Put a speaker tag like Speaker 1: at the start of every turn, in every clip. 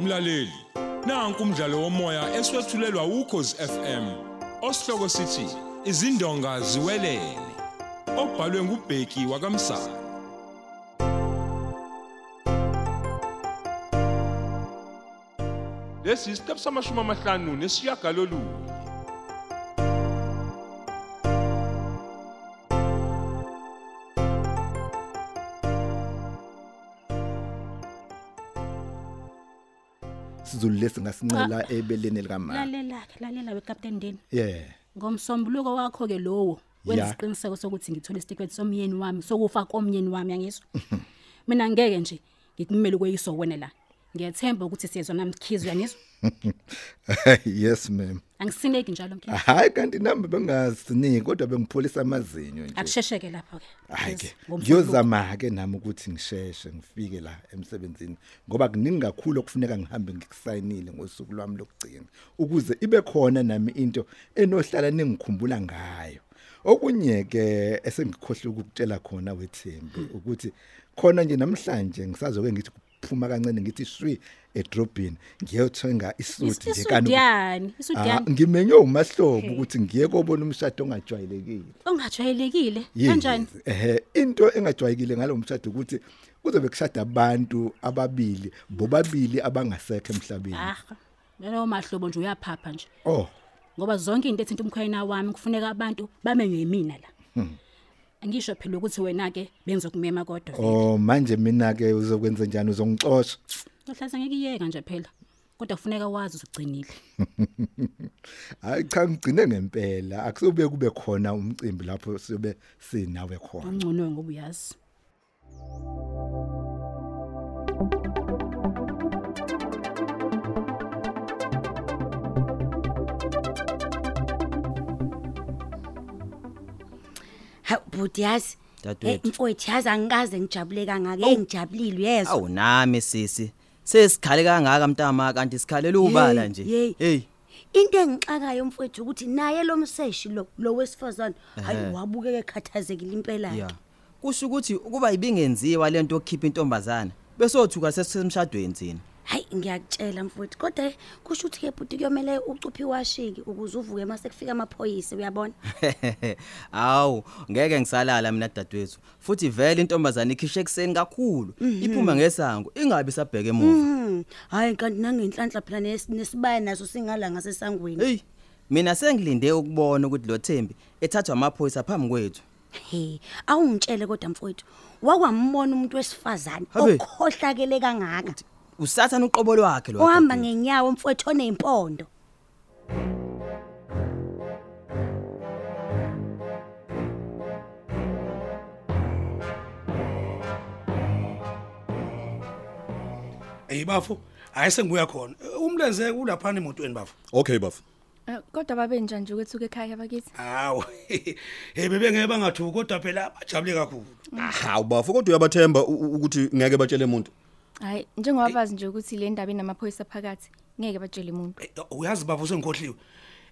Speaker 1: Mlaleli, nanku umdlalo womoya eswetshulelwa ukhozi FM. Osihloko sithi izindonga ziwelele. Obhalwe ngubheki wakamsana. Lesi isiqephu samashumi amahlanu nesiyagalolunye.
Speaker 2: sizulu lesi ngasincela ebeleni likamama
Speaker 3: lalela-ke lalela wekapteni ndeni
Speaker 2: yeah
Speaker 3: ngomsombuluko wakho-ke lowo wenza
Speaker 2: Ya.
Speaker 3: isiqiniseko sokuthi ngithole isitikweti somyeni wami sokufa komyeni wami angizwa mina ngeke nje ngikumele ukweyiswa kuwena la ngiyathemba ukuthi siyezona mkhizi uyangizwa
Speaker 2: yes ma'am
Speaker 3: angisineki njalo mkhizi
Speaker 2: hayi kanti nami bengasiniki kodwa bengipholisa amazinyo nje
Speaker 3: akushesheke lapho-ke
Speaker 2: hayi ke
Speaker 3: Mkhize, ngomsombuluko.
Speaker 2: ngiyozama ke nami ukuthi ngisheshe ngifike la emsebenzini ngoba kuningi kakhulu okufuneka ngihambe ngikusayinile ngosuku lwami lokugcina ukuze ibe khona nami into enohlala ningikhumbula ngayo okunye ke esengikhohle ukukutshela khona wethembi ukuthi khona nje namhlanje ngisazoke ngithi phuma kancane ngithi shwi edrobhini ngiyothenga
Speaker 3: Is-
Speaker 2: isuti nje
Speaker 3: isudi
Speaker 2: kani
Speaker 3: yani isudi
Speaker 2: Ah,
Speaker 3: yani
Speaker 2: ngimenywe umahlobo ukuthi ngiye kobona umshado ongajwayelekile.
Speaker 3: ongajwayelekile
Speaker 2: Yes.
Speaker 3: kanjani
Speaker 2: Ehhe, into engajwayelekile ngalo mshado ukuthi kuzobe kushada abantu ababili, bobabili abangasekho emhlabeni.
Speaker 3: ah lelo mahlobo nje uyaphapha nje
Speaker 2: Oh,
Speaker 3: ngoba zonke into ethinta umkhwayena wami kufuneka abantu bamenywe yimina la angisho phela ukuthi wena-ke bengizokumema kodwa
Speaker 2: oh manje mina ke uzokwenza njani uzongixosha?
Speaker 3: Ngihlasa ngekiyeka nje phela. Kodwa kufuneka wazi uzigcinile.
Speaker 2: Hayi cha ngigcine ngempela, akusobe kube khona umcimbi lapho sobe sinawe khona.
Speaker 3: Ungcono ngoba uyazi.
Speaker 4: hawu bhuti yazi Eh,
Speaker 5: Dadewethu.
Speaker 4: mfowethu yazi angikaze ngijabule kangaka eyi ngijabulile uyezwa
Speaker 5: Awu nami sisi. Sesikhale kangaka mntama kanti sikhalela ubala nje.
Speaker 4: yeyi.
Speaker 5: Hey,
Speaker 4: into engixakayo mfowethu ukuthi naye lo mseshi lo lo wesifazane hayi wabukeke ekhathazekile impela
Speaker 5: ya. Kusho ukuthi ukuba ibingenziwa lento yokhipha intombazana bese othuka sesemshadweni thina.
Speaker 4: hayi ngiyakutshela mfowethu kodwa eh, kusho ukuthi ke bhuti kuyomele ucuphi washiki ukuze uvuke mase kufika amaphoyisa uyabona
Speaker 5: Awu, ngeke ngisalala mina dadewethu. Futhi vele intombazana ikhishe ekseni kakhulu. Iphuma ngesango, ingabe sabheke emuva.
Speaker 4: Hmm, hayi kanti nangenhlanhla phela nes- nesibaya naso singala ngasesangweni
Speaker 5: Hey, mina sengilinde ukubona ukuthi lo Thembi ethathwa amaphoyisa phambi kwethu.
Speaker 4: he awungitshele kodwa mfowethu wakwambona umuntu wesifazane
Speaker 5: Habe.
Speaker 4: okhohlakele kangaka
Speaker 5: Usathana uqobo lwakhe lo.
Speaker 4: ohamba
Speaker 5: dadewethu.
Speaker 4: ngenyawo mfowethu onempondo
Speaker 6: Hey bafo, hayi sengibuya khona. Umlenze ulaphana emotweni bafo.
Speaker 7: Okay bafo.
Speaker 8: Eh, kodwa babenja nje ukuthuka ekhaya bakithi
Speaker 6: Hawu. Hey bebengeke bangathuki kodwa phela bajabule kakhulu.
Speaker 7: Hawu bafo kodwa uyabathemba u- u- ukuthi ngeke batshele umuntu.
Speaker 8: hhayi njengoba bazi nje ukuthi le ndaba inamaphoyisa phakathi ngeke batshele muntu
Speaker 6: Eh, Uyazi bafo sengikhohliwe.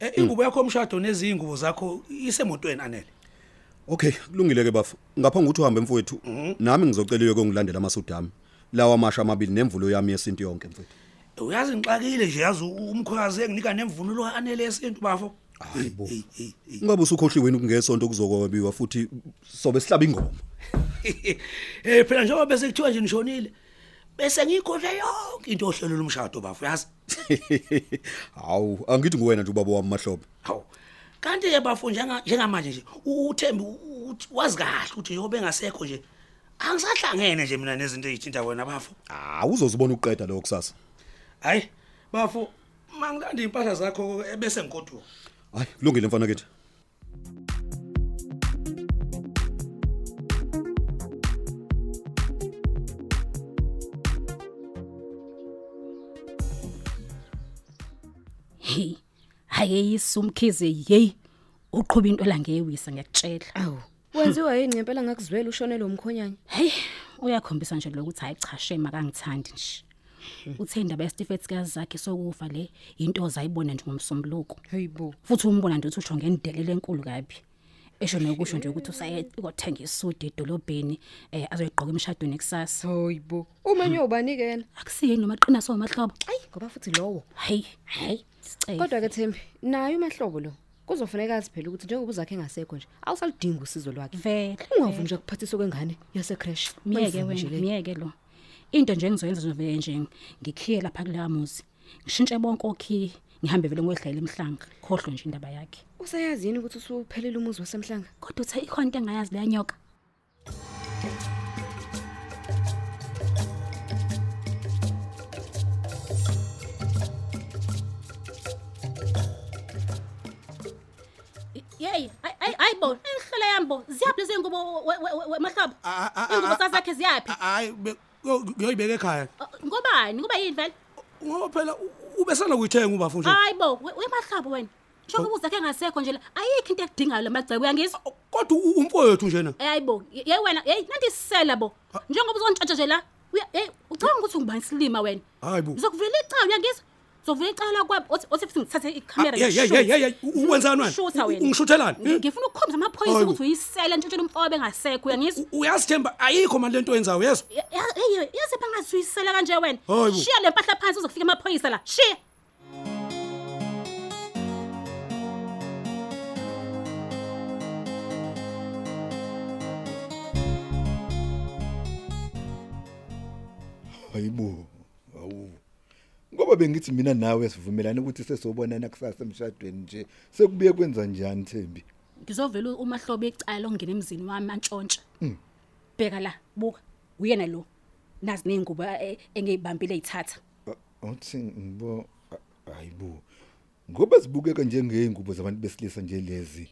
Speaker 6: Eh ingubo yakho omshado nezingubo zakho isemotweni anele.
Speaker 7: Okay, kulungile ke bafo. Ngaphambi ukuthi uhambe mfowethu, nami ngizocela uye ngilandela amasudami. Lawa amasha amabili nemvulo yami yesinto yonke mfowethu.
Speaker 6: Uyazi ngixakile nje yazi umkhwazi enginika nemvunulo anele esintu bafo.
Speaker 7: Hayibo.
Speaker 6: Hey, hey, hey.
Speaker 7: Ungabe usukhohliwe yini kungesonto kuzokwabiwa futhi sobe sihlaba ingoma.
Speaker 6: Eh phela njengoba bese kuthiwa nje nishonile. Bese ngikhohle yonke into ohlelo lomshado bafo yazi.
Speaker 7: Hawu, angithi nguwena nje ubaba wami mahlobo.
Speaker 6: Hawu. Kanti ke bafu njenga njengamanje nje u- uThembi u- uthi- wazi kahle ukuthi njengoba engasekho nje angisahlangene nje mina nezinto ezithinta wena bafu.
Speaker 7: Ah, uzozibona uqeda lokho kusasa.
Speaker 6: Hayi bafu mangilanda impahla zakho ebese ngikoduka.
Speaker 7: Hayi, kulungile mfana kethu.
Speaker 3: Hey. Hayi isumkhize hey. Uqhuba into la ngewisa ngiyakutshela.
Speaker 9: awu wenziwa yini ngempela ngakuzwela ushone lo mkhonyane
Speaker 3: Hey, uyakhombisa nje lokuthi hayi cha shema kangithandi nje. Uthe indaba yeStifet kazakhe sokufa le into ozayibona nje ngomsombuluko.
Speaker 9: heyi bo
Speaker 3: Futhi umbona nje uthi usho ngendelele enkulu kabi. esho nokusho nje ukuthi usayekothenga isudi edolobheni um azoyigqoka emshadweni kusasa
Speaker 9: hoyibo uma nyobanikela
Speaker 3: akusiye noma qiniso wamahlobo
Speaker 9: ayi ngoba futhi lowo
Speaker 3: hayi hayi sicela
Speaker 9: kodwa-ke thembi naye umahlobo lo kuzofuneka azi phela ukuthi njengoba uzakhe engasekho nje awusaludingi usizo lwakhe
Speaker 3: Vele,
Speaker 9: ungavumi nje kuphathiswa kwengane yasecrash
Speaker 3: miyeke wena miyeke lo into nje engizoyenza zovele nje ngikhiye lapha kuleya muzi ngishintshe bonke okhiye ngihambe vele ngoyidlayela emhlanga khohlwe nje indaba yakhe
Speaker 9: usayazi yini ukuthi usuphelele umuzi wasemhlanga
Speaker 3: kodwa uthe ikhona into engayazi leyanyoka yeyi hayi bo enhlola yambo ziyaphi lezi ngubo wemahlobo
Speaker 6: Ah,
Speaker 3: iy'ngubo sazakhe ziyaphi
Speaker 6: hayi ngiyoyibeka ekhaya
Speaker 3: Uh, ngobani ngoba yini vele
Speaker 6: ngoba phela u- ubesanda kuyithenga ubafu nje
Speaker 3: hayi bo we- wemahlobo wena njengoba uzakhe ngasekho nje la ayikho into ekudingayo la magcebo yangizwa
Speaker 6: kodwa u- umfowethu njena
Speaker 3: Eh, hayi bo ye ye wena yeyi nantisisela bo njengoba uzontshantsha nje la uya- yeyi ucabanga ukuthi ungubani silima wena
Speaker 6: hayi bo
Speaker 3: ngizokuvula icala uyangizwa ngizokuvula icala lakwabo othi othi futhi ngithathe
Speaker 6: Ah,
Speaker 3: ikhamera
Speaker 6: yeyeyeyeyeyeyeyi uwenzani
Speaker 3: Ngishutha
Speaker 6: wena
Speaker 3: wena.
Speaker 6: ungishutelani
Speaker 3: Ngi- ngifuna ukukhombisa amaphoyisa
Speaker 6: Hayi bo.
Speaker 3: ukuthi uyisele ntshintshela umfobe engazekho uyangizwa
Speaker 6: U- uyazithemba ayikho mani lento oyenzayo yezo
Speaker 3: Ya- ya- eyi, yazipha ngathi uyisele kanje wena
Speaker 6: Hayi bo.
Speaker 3: shiya le mpahla phansi uzokufika amaphoyisa la shiya
Speaker 2: hayibo awu ngoba bengithi mina nawe sivumelane ukuthi sesizobonana kusasa emshadweni nje sekubuye kwenza njani Thembi
Speaker 3: ngizovela umahlobo ecala lokungena emzini wami antshontsha bheka la buka uyena lo nazi ney'ngubo eh, engiy'bambile ey'thatha
Speaker 2: A- uthi ngibo a- hayibo ngoba zibukeka njengeyingubo zabantu besilisa nje lezi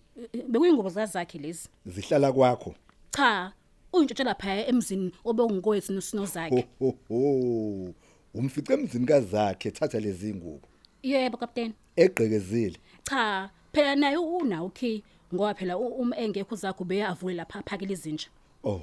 Speaker 3: bekuyingubo zazakhe lezi
Speaker 2: zihlala kwakho
Speaker 3: cha uyintshotshela phaya emzini obengowethu nosinozakhe
Speaker 2: ho ho ho umfice emzini kazakhe thatha lezi ngubo
Speaker 3: yebo kapteni
Speaker 2: egqekezile
Speaker 3: cha phela naye unawo ukhi ngoba phela u- uma engekho zakho ubeya avule lapha aphakele izinja
Speaker 2: oh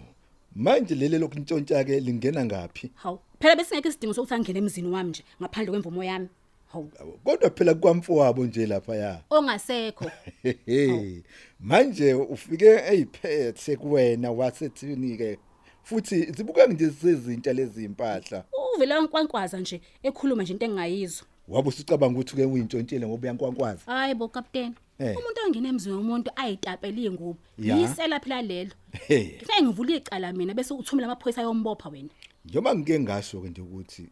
Speaker 2: manje lele lokuntshontsha ke lingena ngapi
Speaker 3: hawu phela besingekho isidingo sokuthi angene emzini wami nje ngaphandle kwemvumo yami hawu
Speaker 2: Yabo, kodwa phela kwamfo wabo nje lapha ya
Speaker 3: ongasekho
Speaker 2: hehe manje ufike eyiphethe kuwena wasethini ke futhi zibuka nje sezintsha lezimpahla
Speaker 3: uvele wankwankwaza nje ekhuluma nje into engingayizwa
Speaker 2: wabe usucabanga ukuthi ke uyintshontshile ngoba uyankwankwaza
Speaker 3: hayi bo kapteni
Speaker 2: Eh.
Speaker 3: umuntu ongena emzini womuntu ayitapele iy'ngubo
Speaker 2: Ya.
Speaker 3: yisela phela lelo
Speaker 2: Hey.
Speaker 3: kufanele ngivule icala mina bese uthumela amaphoyisa ayombopha wena
Speaker 2: njengoba ngike ngasho ke nje ukuthi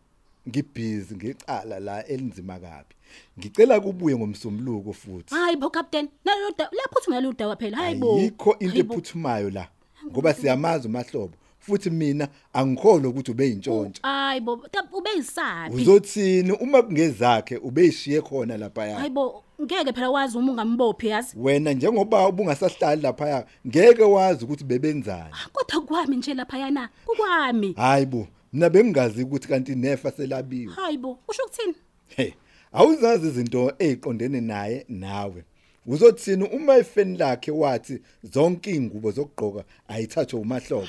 Speaker 2: ngibhizi ngicala la elinzima kabi ngicela kubuye ngomsombuluko futhi
Speaker 3: hayi bo captain nalo da- laphuthuma lolu daba phela hayi bo
Speaker 2: ayikho into
Speaker 3: Hayi bo.
Speaker 2: ephuthumayo la ngoba siyamazi umahlobo futhi mina angikholwa ukuthi ubeyintshontsha
Speaker 3: hayi bo ta- ube yisaphi
Speaker 2: uzothini uma kungezakhe ubeyishiye khona lapha yakhe
Speaker 3: hayi bo ngeke phela wazi uma ungambophi yazi
Speaker 2: wena njengoba ubungasahlali lapha ngeke wazi ukuthi bebenzani
Speaker 3: kodwa kwami nje laphayana kukwami
Speaker 2: hayi bo mina bengingazi ukuthi kanti nefa selabiwe
Speaker 3: hayi bo usho ukuthini
Speaker 2: hey awuzazi izinto eziqondene naye nawe uzothini uma ifeni lakhe wathi zonke ingubo zokugqoka ayithathwe umahlobo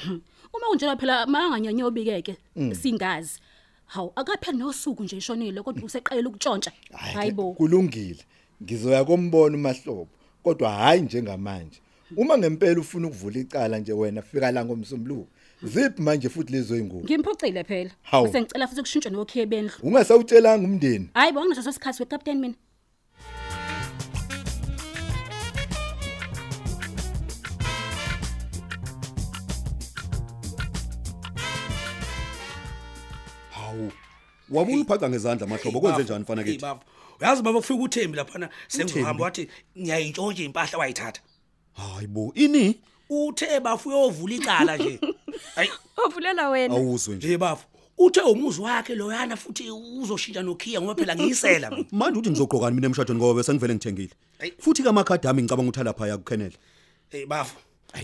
Speaker 3: uma kunjalo phela manganyanyobikeke
Speaker 2: Mm.
Speaker 3: singazi hawu akapheli nosuku nje ishonile kodwa useqele ukutshontsha hayi bo
Speaker 2: kulungile ngizoya kombona umahlobo kodwa hayi njengamanje uma ngempela ufuna ukuvula icala nje wena fika la ngomsombuluko ziphi manje futhi lezo ingubo
Speaker 3: ngimphucile phela
Speaker 2: Hawu.
Speaker 3: sengicela futhi ukushintsha nokhiye bendlu
Speaker 2: ungasawutshelanga umndeni
Speaker 3: hayi bo anginaso sikhathi wecaptain mina
Speaker 7: hawu wabuye uphaca ngezandla mahlobo kwenze njani
Speaker 6: Hey,
Speaker 7: mfanakithi
Speaker 6: bafu. uyazi baba kufika uthembi laphana sengizohamba wathi ngiyayintshontshe impahla wayithatha
Speaker 7: hayi bo ini
Speaker 6: uthe bafu uyovula icala nje hayi
Speaker 9: ovulela wena
Speaker 7: awuzwe nje
Speaker 6: nje bafu uthe umuzi wakhe loyana futhi uzoshintsha nokhiya ngoba phela ngiyisela mina
Speaker 7: manje uthi ngizogqokani mina emshadweni ngoba besengivele ngithengile
Speaker 6: Ayi.
Speaker 7: futhi kamakhadi ami ngicabanga ukuthi alapha yakukhenele
Speaker 6: hey bafu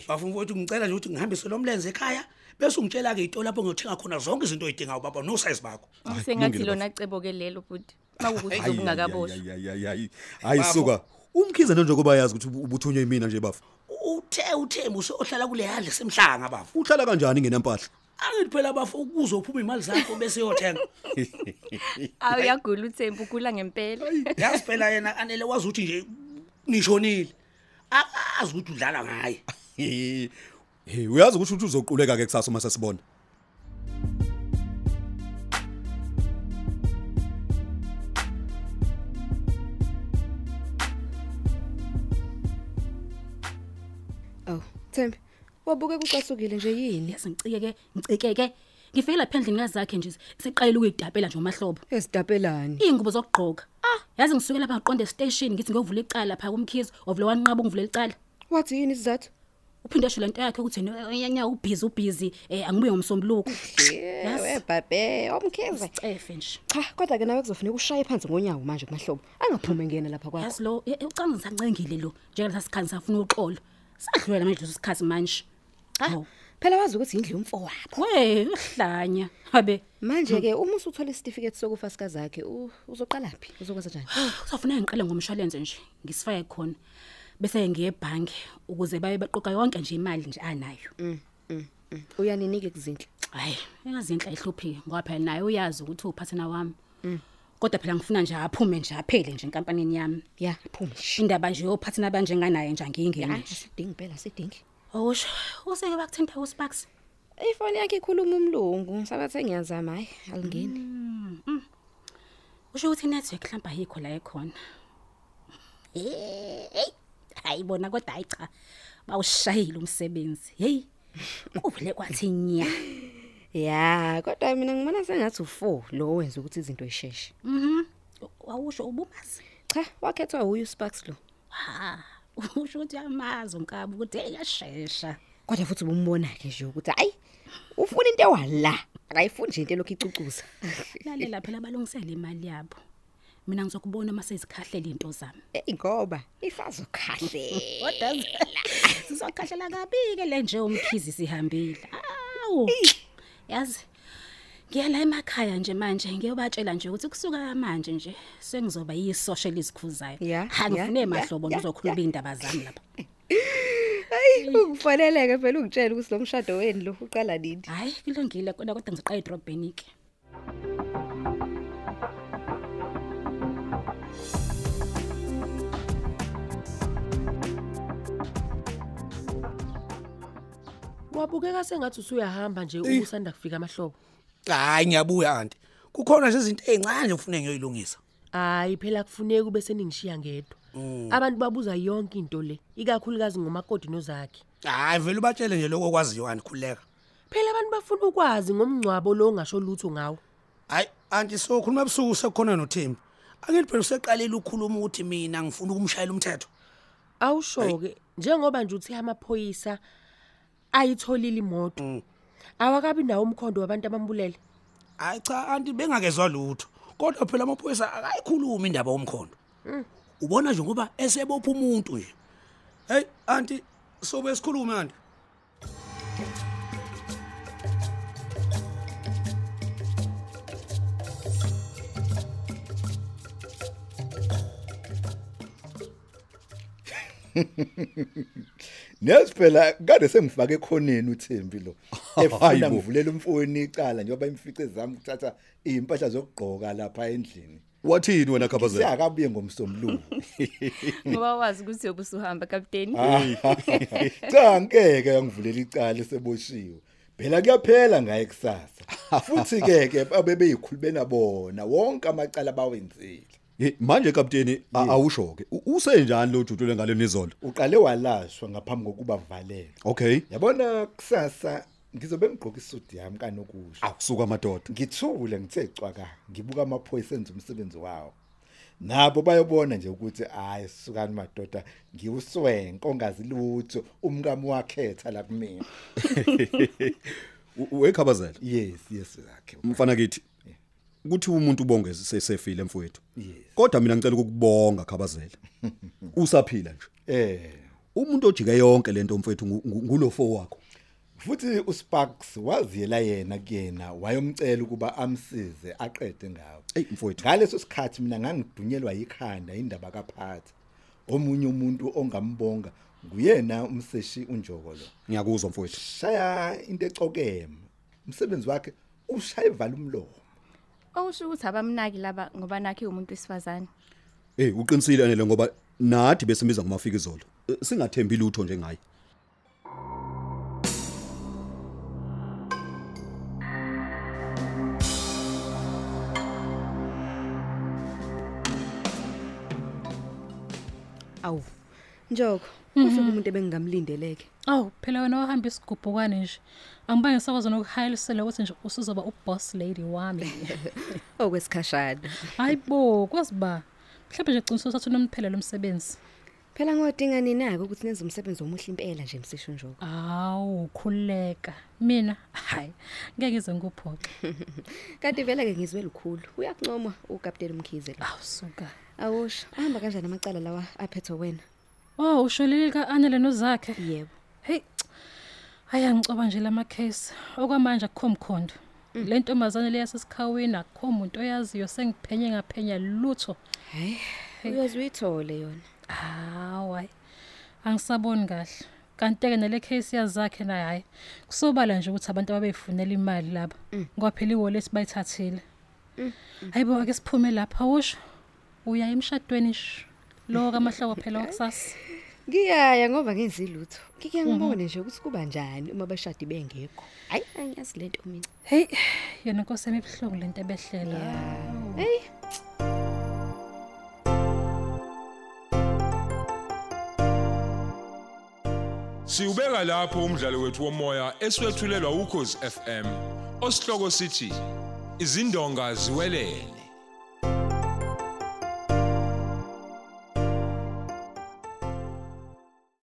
Speaker 6: bafu mfowethu ngicela nje ukuthi ngihambise lo mlenze ekhaya bese ungitshela-ke ito lapho ngiyothenga khona zonke izinto oy'dingayo baba nosayizi bakho
Speaker 8: sengathi
Speaker 7: kulungile
Speaker 8: lona cebo-ke lelo budi makukuthi
Speaker 7: Ayi,
Speaker 8: zobungakaboshwa
Speaker 7: ayi, ayi, ayi, ayi. hayi suka umkhize njengoba yazi ukuthi ubuthunywe yimina nje bafu
Speaker 6: uthe uthembi useyohlala kule yandle semhlanga bafu
Speaker 7: uhlala kanjani ngenampahla
Speaker 6: angithi phela bafu kuzophuma iy'mali zakho bese yothenga
Speaker 8: awuyagula uthembu ugula ngempela
Speaker 6: yazi phela yena anele wazi ukuthi nje nishonile akazi ukuthi udlala ngaye
Speaker 7: Hey, uyazi ukuthi uthi uzoquleka ke kusasa uma sesibona.
Speaker 9: aw thembi wabuke kucasukile nje yini
Speaker 3: yazi ngicikeke ngicikeke ngifela phendlini kazakhe nje seqalile ukuyidabela nje umahlobo
Speaker 9: esidapelani
Speaker 3: iy'ngubo zokugqoka ah yazi ngisuke lapha ngaqonda esiteshini ngithi ngiyovula icala phaa kumkhizo ovule wanqaba ungivulela icala
Speaker 9: wathi yini isizathu
Speaker 3: uphinde esho lento yakhe ukuthi nyanya ubhizi ubhizi um angibuye ngomsombuluko Yazi.
Speaker 9: ebhabhe omkheza
Speaker 3: cefe nje
Speaker 9: cha kodwa-ke nawe kuzofuneka ushaye phansi ngonyawo manje kumahlobo angaphume ngena lapha kwakho
Speaker 3: yazi lo ucanga ngisancengile lo njengalesa sikhani safuna uxolo sadlwela manje leso sikhathi manje hawu
Speaker 9: phela wazi ukuthi yindlu yomfo wakho
Speaker 3: we uhlanya abe
Speaker 9: manje-ke uma usuthola Eh, isitifiketi sokufa sikazakhe u- uzoqala phi uzokwenza njani
Speaker 3: kusafuneka ngiqale ngomshwalense nje ngisifake khona bese ngiye ebhange ukuze baye baqoqa yonke nje imali nje anayo mm,
Speaker 9: uyaninike kuzinhle
Speaker 3: hayi engazinhle ayihluphike ngoba phela naye uyazi ukuthi uphathana wami kodwa phela ngifuna nje aphume nje aphele nje enkampanini yami
Speaker 9: ya phumi shi
Speaker 3: indaba nje yophathana abanjenganaye nje angiyingeni
Speaker 9: hayi
Speaker 3: nje
Speaker 9: asidingi impela asidingi
Speaker 3: okusho useke bakuthinta usparks
Speaker 9: ifoni yakhe ikhuluma umlungu ngisabathe ngiyazama hhayi alingeni
Speaker 3: usho ukuthi inetwork mhlawumbe ayikho la ekhona hey hayi bona kodwa hayi cha bawushayile umsebenzi hey uvule kwathi nya
Speaker 9: ya kodwa mina ngibona sengathi u-four lo owenza ukuthi izinto yisheshe
Speaker 3: Mhm. wawusho ubumazi
Speaker 9: cha wakhethwa huyo usparks lo
Speaker 3: ha usho ukuthi amazi unkaba ukuthi hey yashesha
Speaker 9: kodwa futhi ubumbona-ke nje ukuthi hhayi ufuna into ewala akayifuni nje into elokhu icucuza
Speaker 3: lalela phela balungisele imali yabo mina ngizokubona uma sezikhahlela into zami
Speaker 9: eyi ngoba isazokhahle
Speaker 3: sizokhahlela kabike le nje umkhizi sihambile awu yazi ngiyala emakhaya nje manje ngiyobatshela nje ukuthi kusuka manje nje sengizoba yisosha elizikhuzayo
Speaker 9: Ya,
Speaker 3: ha
Speaker 9: ya,
Speaker 3: ngifune
Speaker 9: ya,
Speaker 3: mahlobo
Speaker 9: ya,
Speaker 3: ngizokhuluma iy'ndaba zami lapha
Speaker 9: hayi ungifaneleke phela ungitshela ukuthi lo mshado wenu lo uqala nini
Speaker 3: hhayi kulungile kodwa kodwa ngizoqala edrobheni-ke
Speaker 10: wabukeka sengathi usuyahamba nje ubusanda kufika amahlobo
Speaker 6: hayi ngiyabuya anti kukhona nje izinto ey'ncane nje kufuneka ngiyoyilungisa
Speaker 10: hayi phela kufuneka ube seningishiya ngedwa abantu babuza yonke into le ikakhulukazi ngomakoti nozakhe
Speaker 6: hayi vele ubatshele nje lokho okwaziyo anti khululeka
Speaker 10: phela abantu bafuna ukwazi ngomngcwabo lo ongasho lutho ngawo
Speaker 6: hayi anti so khuluma ebusuku sekukhona nothembi angithi phela useqalile ukukhuluma ukuthi mina ngifuna ukumshayela umthetho
Speaker 10: awusho-ke njengoba nje uthe amaphoyisa ayitholile imoto awakabi nawo umkhondo wabantu abambulele
Speaker 6: hayi cha anti bengakezwa lutho kodwa phela amaphoyisa akayikhulumi indaba yomkhondo
Speaker 10: Mm.
Speaker 6: ubona nje ngoba esebopha umuntu nje heyi anti sobe sikhulume anti
Speaker 2: Nezi phela kade sengifake ekhoneni uThembi lo. Efuna
Speaker 7: bo.
Speaker 2: ngivulela umfoni icala njengoba imfice zami kuthatha impahla zokugqoka lapha endlini.
Speaker 7: Wathini wena khabazela?
Speaker 2: Siyakabuye ngomsombuluko.
Speaker 8: ngoba wazi ukuthi yobe usuhamba kapteni
Speaker 2: Ah. Cha ngeke yangivulela icala seboshiwe. Phela kuyaphela ngaye kusasa. Futhi ke ke abebeyikhulubena bona wonke amacala bawenzile.
Speaker 7: Hey, manje kapteni awusho ke usenjani lo jutule ngaleni izolo?
Speaker 2: Uqale walashwa ngaphambi kokuba valelwe.
Speaker 7: Okay.
Speaker 2: Yabona kusasa ngizobe ngigqoka isuti yami kanokusho.
Speaker 7: Awusuka madoda.
Speaker 2: ngithule ngithe cwaka ngibuka amaphoyisa enza umsebenzi wawo nabo bayobona nje ukuthi hayi sukani madoda ngiwuswenko ongazi lutho umkami wakhetha la kumina
Speaker 7: U- Wekhabazela.
Speaker 2: yes yes yakhe
Speaker 7: Mfana kithi. Kuthi umuntu ubongeze sesefile mfowethu.
Speaker 2: Yes.
Speaker 7: Kodwa mina ngicela ukukubonga khabazela. Usaphila nje.
Speaker 2: eh
Speaker 7: Umuntu ojike yonke lento mfowethu ngu- ngu- ngulofo wakho.
Speaker 2: futhi uSparks waziyela yena kuyena wayomcela ukuba amsize aqede ngawo
Speaker 7: Ey mfowethu.
Speaker 2: ngaleso sikhathi mina ngangidunyelwa yikhanda indaba kaphatha omunye umuntu ongambonga nguyena umseshi unjoko lo
Speaker 7: Ngiyakuzwa mfowethu.
Speaker 2: shaya into ecokema umsebenzi wakhe ushaya evala umlomo
Speaker 8: okusho ukuthi abamnaki laba ngoba nakhe umuntu wesifazane
Speaker 7: Eh uqinisile anele ngoba
Speaker 6: nathi besimiza ngomafika izolo Eh, singathembi lutho njengaye
Speaker 9: awu njoko ufike umuntu ebengingamlindeleke
Speaker 3: awu phela wena wahamba isigubhukwane nje angibange sakwazi nokuhayilisela ukuthi nje usuzoba uboss lady wami
Speaker 9: okwesikhashana
Speaker 3: hayi bo kwazi ba mhlawumbe nje ciniso sathi unomphela lo msebenzi
Speaker 9: phela ngodinga nina-ke ukuthi nenze umsebenzi omuhle impela nje msisho
Speaker 10: Ah.
Speaker 9: njoko
Speaker 3: awu khululeka mina hayi ngeke ngize nguphoxe
Speaker 9: kanti vele-ke ngizwe lukhulu uyakuncoma ukapteni umkhize
Speaker 10: Ah.
Speaker 9: lo
Speaker 3: suka
Speaker 9: awusho ahamba kanjani amacala lawa aphethe wena
Speaker 3: Oh usholile kaanele nozakhe
Speaker 9: yebo
Speaker 3: hey hayi angicoba nje lama case okwamanje akukho mkhondo le ntombazane leya sesikhawini akukho umuntu oyaziyo sengiphenye ngaphenya lutho
Speaker 9: hey uyozuyithole yona
Speaker 3: hawu hayi Ah, angisaboni kahle kanti-ke nale case yazakhe naye hhayi kusobala nje ukuthi abantu ababeyifunela imali laba ngoba phela iwoleti bayithathile hayi bo ake siphume lapha usho uyaye emshadweni sh lo kamahlobo phela wakusasa
Speaker 9: ngiyaya ngoba ngenzi lutho ngike ngibone nje ukuthi kuba njani uma bashadi bengekho hayi angiyazi lento mina
Speaker 3: heyi yona nkosi yami ebuhlungu lento ebehlela
Speaker 9: heyi
Speaker 1: Siubeka lapho umdlalo wethu womoya eswetshulelwa ukhozi FM. Osihloko sithi izindonga ziwelele.